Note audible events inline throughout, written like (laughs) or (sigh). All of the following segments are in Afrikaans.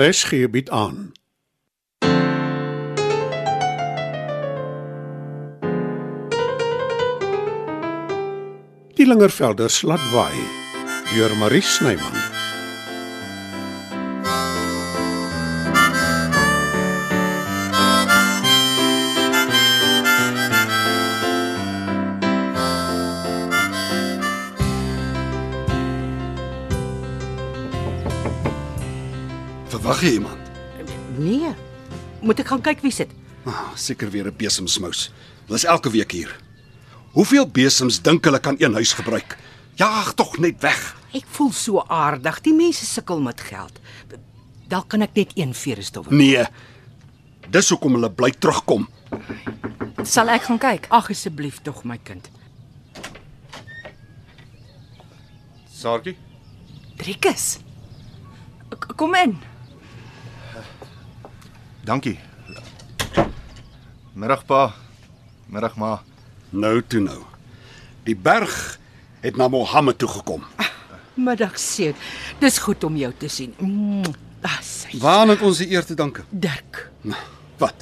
RSG bied aan. Die Lingervelder slatwaai deur Marie Snyman. Verwag jy iemand? Nee. Moet ek gaan kyk wie sit? Ah, seker weer 'n besemsmous. Hulle is elke week hier. Hoeveel besems dink hulle kan een huis gebruik? Jaag tog net weg. Ek voel so aardig. Die mense sukkel met geld. Dalk kan ek net een virus dof. Nee. Dis hoekom hulle bly terugkom. Sal ek gaan kyk? Ag asseblief tog my kind. Saartjie, Driekus. K- Kom in. dankie. Middag pa. Middag ma. Nou toe nou. Die berg het na Mohammed toe gekom. Middag seet. Dis goed om jou te sien. Mm, ah, sy Waaraan het ons die eer te danke? Dirk. Wat?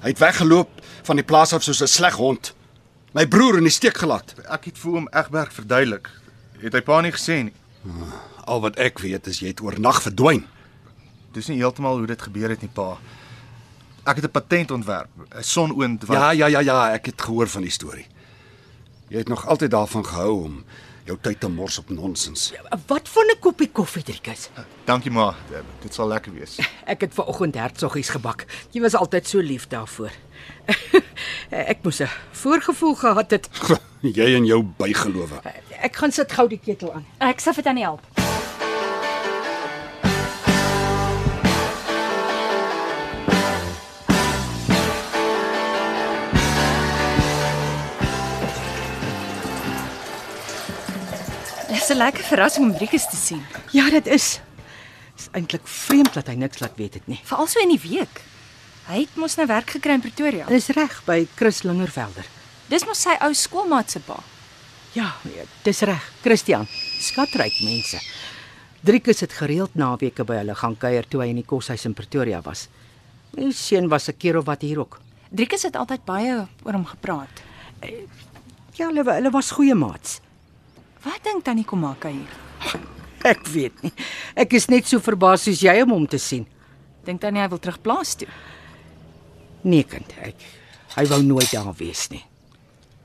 Hy het weggeloop van die plaas af soos 'n sleg hond. My broer in die steek gelaat. Ek het vir hom Egberg verduidelik. Het hy pa nie gesê nie. Al wat ek weet is jy het oornag verdwyn. Dis nie heeltemal hoe dit gebeur het nie, pa. Ek het 'n patent ontwerp, 'n sonoond wat Ja, ja, ja, ja, ek het gehoor van die storie. Jy het nog altyd daarvan gehou om jou tyd te mors op nonsens. Ja, Wat van 'n koppie koffie, Driekus? Dankie ma. Dit sal lekker wees. Ek het ver oggend hertsoggies gebak. Jy was altyd so lief daarvoor. (laughs) ek moes 'n voorgevoel gehad het. (laughs) Jy en jou bygelowe. Ek gaan sit gou die ketel aan. Ek sal vir tannie help. Dis 'n lekker verrassing om Driekus te sien, Ja, dit is. Is eintlik vreemd dat hy niks laat weet het nie. veral so in die week. Hy het mos nou werk gekry in Pretoria. Dis reg by Chris Lingervelder. Dis mos sy ou skoolmaat se pa. Ja, ja, dis reg, Christian. Skatryk mense. Driekus het gereeld naweke by hulle gaan kuier toe hy in die koshuis in Pretoria was. My seun was 'n keer of wat hier ook. Driekus het altyd baie oor hom gepraat. Ja, hulle wa- hulle was goeie maats. Wat dink tannie Komaka hier? Ek weet nie. Ek is net so verbaas soos jy om hom te sien. Dink tannie hy wil terug plaas toe? Nee, kind, ek hy wou nooit daar wees nie.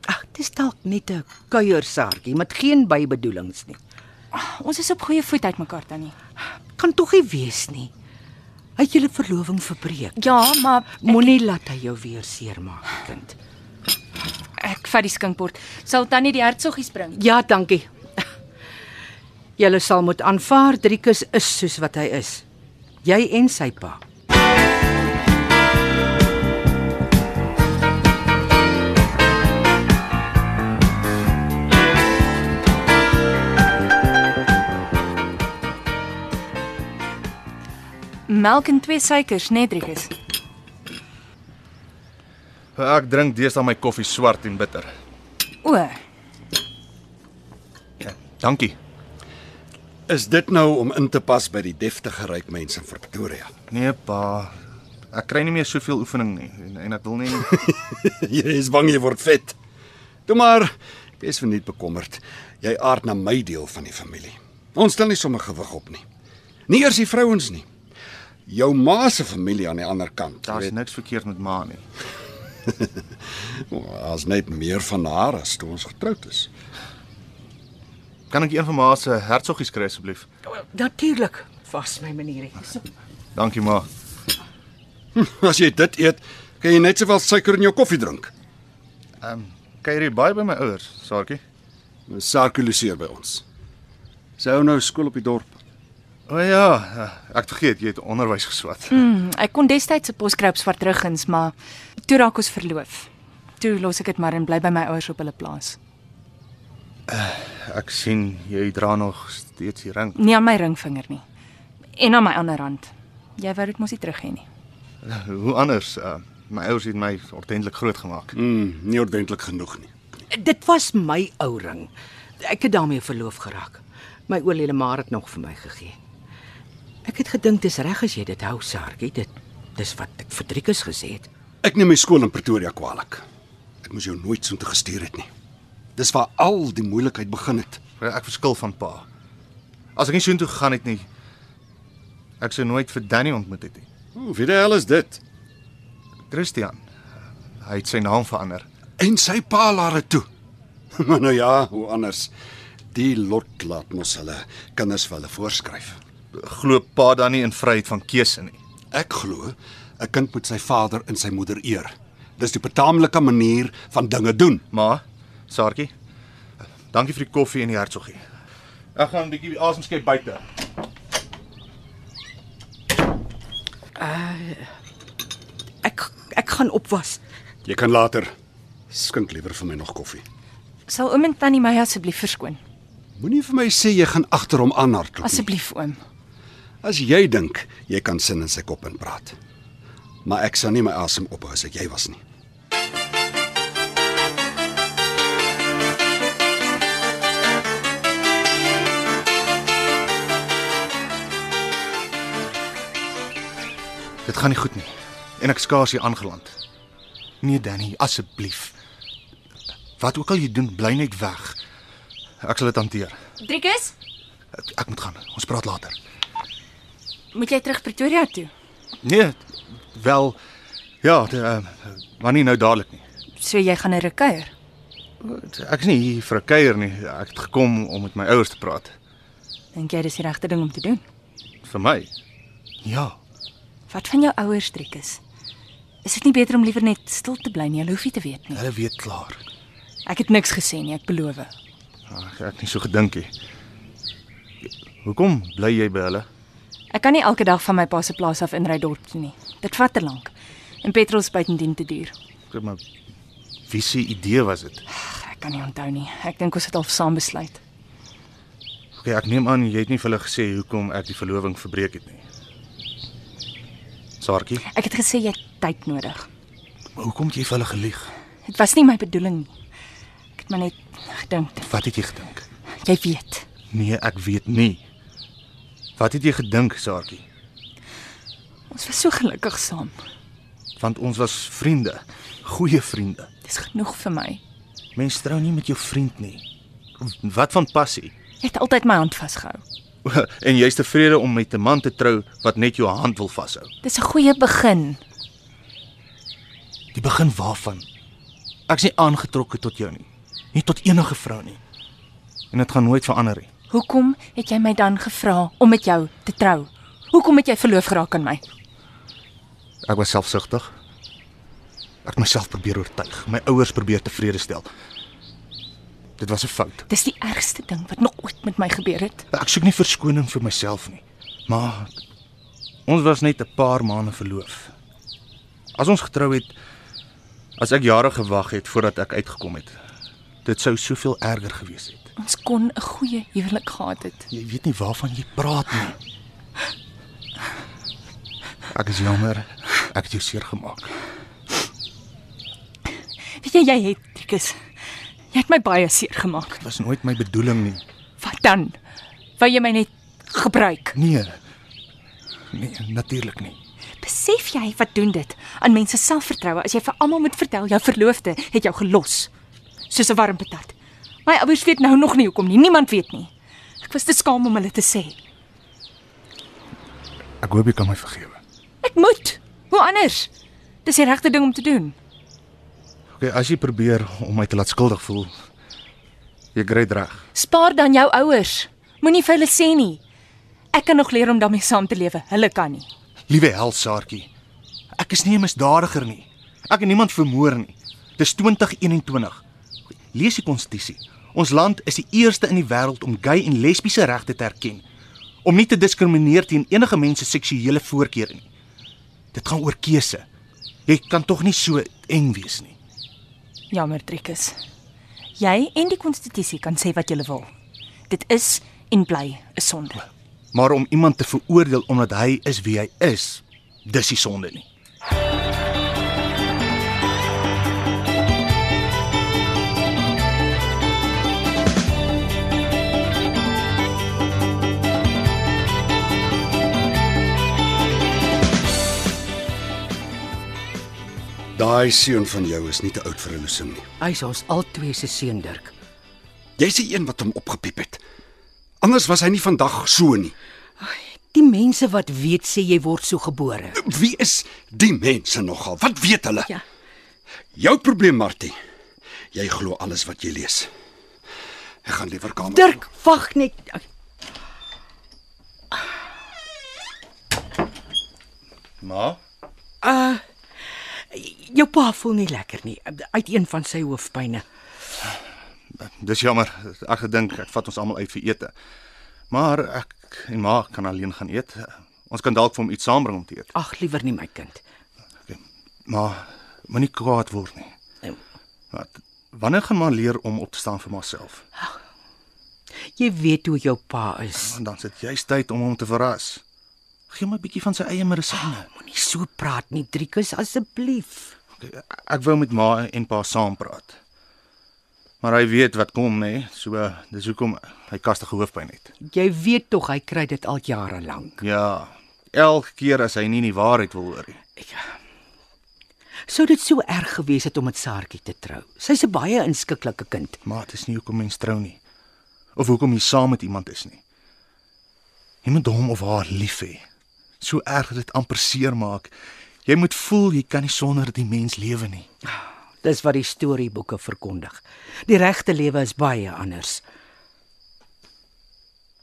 Ag, dis dalk net 'n kuiersaartjie met geen bybedoelings nie. Ons is op goeie voet uit mekaar tannie. Kan tog nie wees nie. Hy het julle verloving verbreek. Ja, maar Moenie laat hy jou weer seermaak, kind. ek vat die skinkbord. Sal tannie die hertsoggies bring? Ja, dankie. Julle sal moet aanvaar Driekus is soos wat hy is. Jy en sy pa. Melk en twee suikers, né, nee, Driekus? Ek drink deesdae my koffie swart en bitter. O, hmm, Ja, dankie. Is dit nou om in te pas by die deftige ryk mense in Pretoria? Nee, pa. Ek kry nie meer soveel oefening nie en, en ek wil nie (laughs) jy is bang jy word vet. Toe maar, wees vir net bekommerd. Jy aard na my deel van die familie. Ons stel nie sommer gewig op nie. Nie eers die vrouens nie. Jou ma se familie aan die ander kant. Daar's niks verkeerd met ma nie. as net meer van haar as toe ons getroud is. Kan ek een van ma se hertsoggies kry asseblief? Natuurlik, vas my manierie. Dankie ma. As jy dit eet, kan jy net sowel suiker in jou koffie drink. Ehm, um, kuier jy baie by my ouers, Saartjie? Sirkuliseer by ons. Sy hou nou skool op die dorp. O ja, ek het vergeet jy het onderwys geswat. Mm. mm, ek kon destyds se poskruip swart ruggens, maar toe raak ons verloof. Toe los ek dit maar en bly by my ouers op hulle plaas. Ek sien jy dra nog steeds die ring. Nie aan my ringvinger nie. En aan my ander hand. Jy wou dit mos nie terug hê nie. Hoe anders? Uh, my ouers het my ordentlik grootgemaak. Mm, nie ordentlik genoeg nie. Dit was my ou ring. Ek het daarmee verloof geraak. My oorlede ma het nog vir my gegee. Ek het gedink dis reg as jy dit hou, Saartjie. Dit dis wat ek vir Driekus gesê het. Ek neem my skool in Pretoria kwaliek. Ek moes jou nooit soontoe gestuur het nie. Dis waar al die moeilikheid begin het. Ek verskil van pa. As ek nie soontoe gegaan het nie, ek sou nooit vir Danny ontmoet het nie. Hoe wie die hel is dit? Christian. Hy het sy naam verander. En sy pa laat dit toe. (laughs) Maar nou ja, hoe anders? Die lot laat mos hulle kinders vir hulle voorskryf. Glo pa dan nie in vryheid van keuse nie. Ek glo 'n kind moet sy vader en sy moeder eer. Dis die betaamlike manier van dinge doen. Ma, Saartjie. Dankie vir die koffie en die hertsoggie. Ek gaan 'n bietjie asem skep buite. Ek ek gaan opwas. Jy kan later skink liewer vir my nog koffie. Sal oom en tannie my asseblief verskoon? Moenie vir my sê jy gaan agter hom aanhardloop nie. Asseblief oom. As jy dink jy kan sin in sy kop in praat. Maar ek sou nie my asem ophou as ek jy was nie. Dit gaan nie goed nie. En ek skaars hier aangeland. Nee Danny, asseblief. Wat ook al jy doen, bly net weg. Ek sal dit hanteer. Driekus, Ek, ek moet gaan. Ons praat later. moet jy terug Pretoria toe? Nee, wel ja, de, uh, maar nie nou dadelik nie. So jy gaan 'n ruk kuier. Ek is nie hier vir 'n kuier nie. Ek het gekom om met my ouers te praat. Dink jy dis die regte ding om te doen? Vir my. Ja, Wat van jou ouers, Driekus? Is dit nie beter om liewer net stil te bly nie? Hulle hoef nie te weet nie. hulle weet klaar. Ek het niks gesê nie, ek beloof. Ag, ek het nie so gedink nie. Hoekom bly jy by hulle? Ek kan nie elke dag van my pa se plaas af inry dorp toe nie. Dit vat te lank. En petrol is buitendien te duur. Ek maar wie se idee was dit? Ag, ek kan nie onthou nie. Ek dink ons het al saam besluit. Okay, ek neem aan jy het nie vir hulle gesê hoekom ek die verloving verbreek het nie. Saartjie, Ek het gesê jy het tyd nodig. hoekom het jy vir hulle gelieg? Dit was nie my bedoeling nie. Ek het maar net gedink, Wat het jy gedink? jy weet. Nee, ek weet nie. Wat het jy gedink, Saartjie? Ons was so gelukkig saam. Want ons was vriende, goeie vriende. Dis genoeg vir my. Mens trou nie met jou vriend nie. Wat van passie? (laughs) Jy het altyd my hand vasgehou. En jy's tevrede om met 'n man te trou wat net jou hand wil vashou. Dis 'n goeie begin. Die begin waarvan? Ek's nie aangetrokke tot jou nie. Nie tot enige vrou nie. En dit gaan nooit verander nie. Hoekom het jy my dan gevra om met jou te trou? Hoekom het jy verloof geraak aan my? Ek was selfsugtig. Ek het myself probeer oortuig, my ouers probeer tevrede stel. Dit was 'n fout. Dis die ergste ding wat nog ooit met my gebeur het. Ek soek nie verskoning vir myself nie. Maar ons was net 'n paar maande verloof. As ons getrou het, as ek jare gewag het voordat ek uitgekom het, dit sou soveel erger gewees het. Ons kon 'n goeie huwelik gehad het. Jy weet nie waarvan jy praat nie. Ek is jammer. Ek het jou seer gemaak. Weet jy jy het, Trikus. Jy het my baie seer gemaak. Dit was nooit my bedoeling nie. Wat dan? Wou jy my net gebruik? Nee. Nee, natuurlik nie. Besef jy wat doen dit aan mense selfvertroue as jy vir almal moet vertel jou verloofde het jou gelos? Soos 'n warm patat. My ouers weet nou nog nie hoekom nie. Niemand weet nie. Ek was te skaam om hulle te sê. Ek hoop jy kan my vergewe. Ek moet. Hoe anders? Dis die regte ding om te doen. Okay, as jy probeer om my te laat skuldig voel, jy kry dit reg. Spaar dan jou ouers. Moenie vir hulle sê nie. Ek kan nog leer om daarmee saam te lewe. Hulle kan nie. Liewe Helsaartjie, ek is nie 'n misdadiger nie. Ek het niemand vermoor nie. Dis 2021. Lees die konstitusie. Ons land is die eerste in die wêreld om gay en lesbiese regte te erken. Om nie te diskrimineer teen enige mens se seksuele voorkeur nie. Dit gaan oor keuse. Jy kan tog nie so eng wees nie. Jammer, Trikus. Jy en die konstitusie kan sê wat jy wil. Dit is en bly 'n sonde. Maar om iemand te veroordeel omdat hy is wie hy is, dis nie sonde nie. Daai seun van jou is nie te oud vir 'n loosing nie. Hy's ons albei se seun Dirk. Jy's die een wat hom opgepiep het. Anders was hy nie vandag so nie. Die mense wat weet sê jy word so gebore. Wie is die mense nogal? Wat weet hulle? Ja. Jou probleem, Martie. Jy glo alles wat jy lees. Ek gaan liewer kamer. Dirk, wag net. Ma, Jou pa voel nie lekker nie uit een van sy hoofpynne. dis jammer. Ek gedink ek vat ons almal uit vir ete. Maar ek en ma kan alleen gaan eet. Ons kan dalk vir hom iets saambring om te eet. Ag, liewer nie my kind. Ma, moenie kwaad word nie. Wat? Wanneer gaan ma leer om op te staan vir myself? Jy weet hoe jou pa is. Want dan sit jy tyd om hom te verras. Gee hom 'n bietjie van sy eie medisyne. Moenie so praat nie, Driekus, asseblief. Ek wou met ma en pa saam praat. Maar hy weet wat kom nê, so dis hoekom hy kastige hoofpyn het. Jy weet tog hy kry dit al jare lank. Ja, elke keer as hy nie die waarheid wil hoor nie. eh, Sou dit so erg gewees het om met Saartjie te trou. Sy's 'n baie inskikkelike kind. Maar dit is nie hoekom mens trou nie of hoekom jy saam met iemand is nie. Jy moet hom of haar lief hê. So erg dat dit amper seer maak. Jy moet voel jy kan nie sonder die mens lewe nie. Dis wat die storieboeke verkondig. Die regte lewe is baie anders.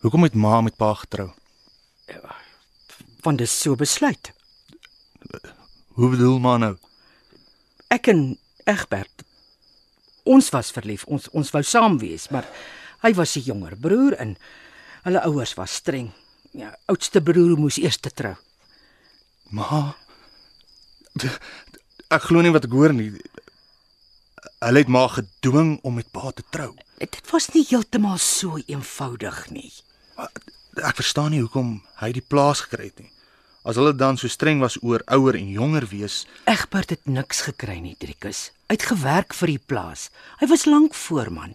Hoekom het ma met pa getrou? Want dis so besluit. Hoe bedoel ma nou? Ek en Egbert ons was verlief. Ons ons wou saam wees, maar hy was 'n jonger broer en hulle ouers was streng. Ja, oudste broer moes eers te trou. Ma Ek glo nie wat ek hoor nie. Hulle het ma gedwing om met pa te trou. Dit was nie heeltemal so eenvoudig nie. Ek verstaan nie hoekom hy die plaas gekry het nie. As hulle dan so streng was oor ouer en jonger wees, Egbert het niks gekry nie, Driekus. Hy het gewerk vir die plaas. Hy was lank voorman.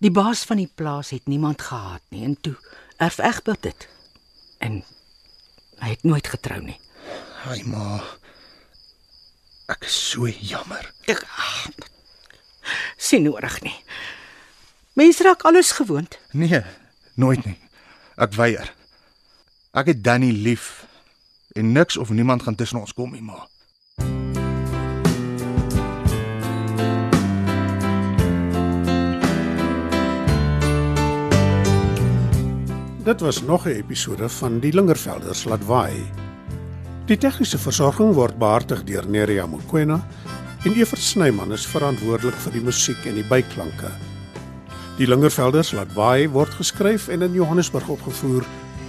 Die baas van die plaas het niemand gehaat nie en toe erf Egbert dit. En hy het nooit getrou nie. Ai ma. Ek is so jammer. Ek ag, sien nodig nie. Mense raak alles gewoond. Nee, nooit nie. Ek weier. Ek het Danny lief en niks of niemand gaan tussen ons kom nie, ma. Dit was nog 'n episode van Die Lingervelders laat waai. Die tegniese versorging word behartig deur Neriya Mukwena en Evert Snyman is verantwoordelik vir die musiek en die byklanke. Die Lingervelders laat waai word geskryf en in Johannesburg opgevoer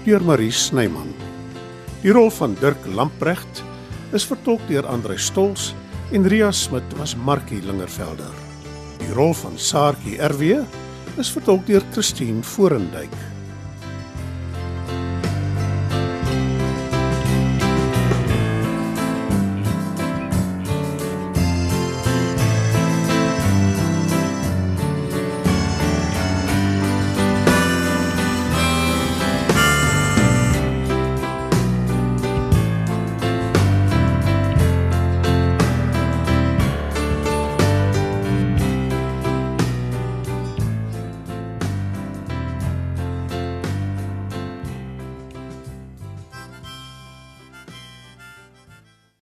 deur Marie Snyman. Die rol van Dirk Lamprecht is vertolk deur Andre Stols en Ria Smit was Markie Lingervelder. Die rol van Saartjie RW is vertolk deur Christine Forendyk.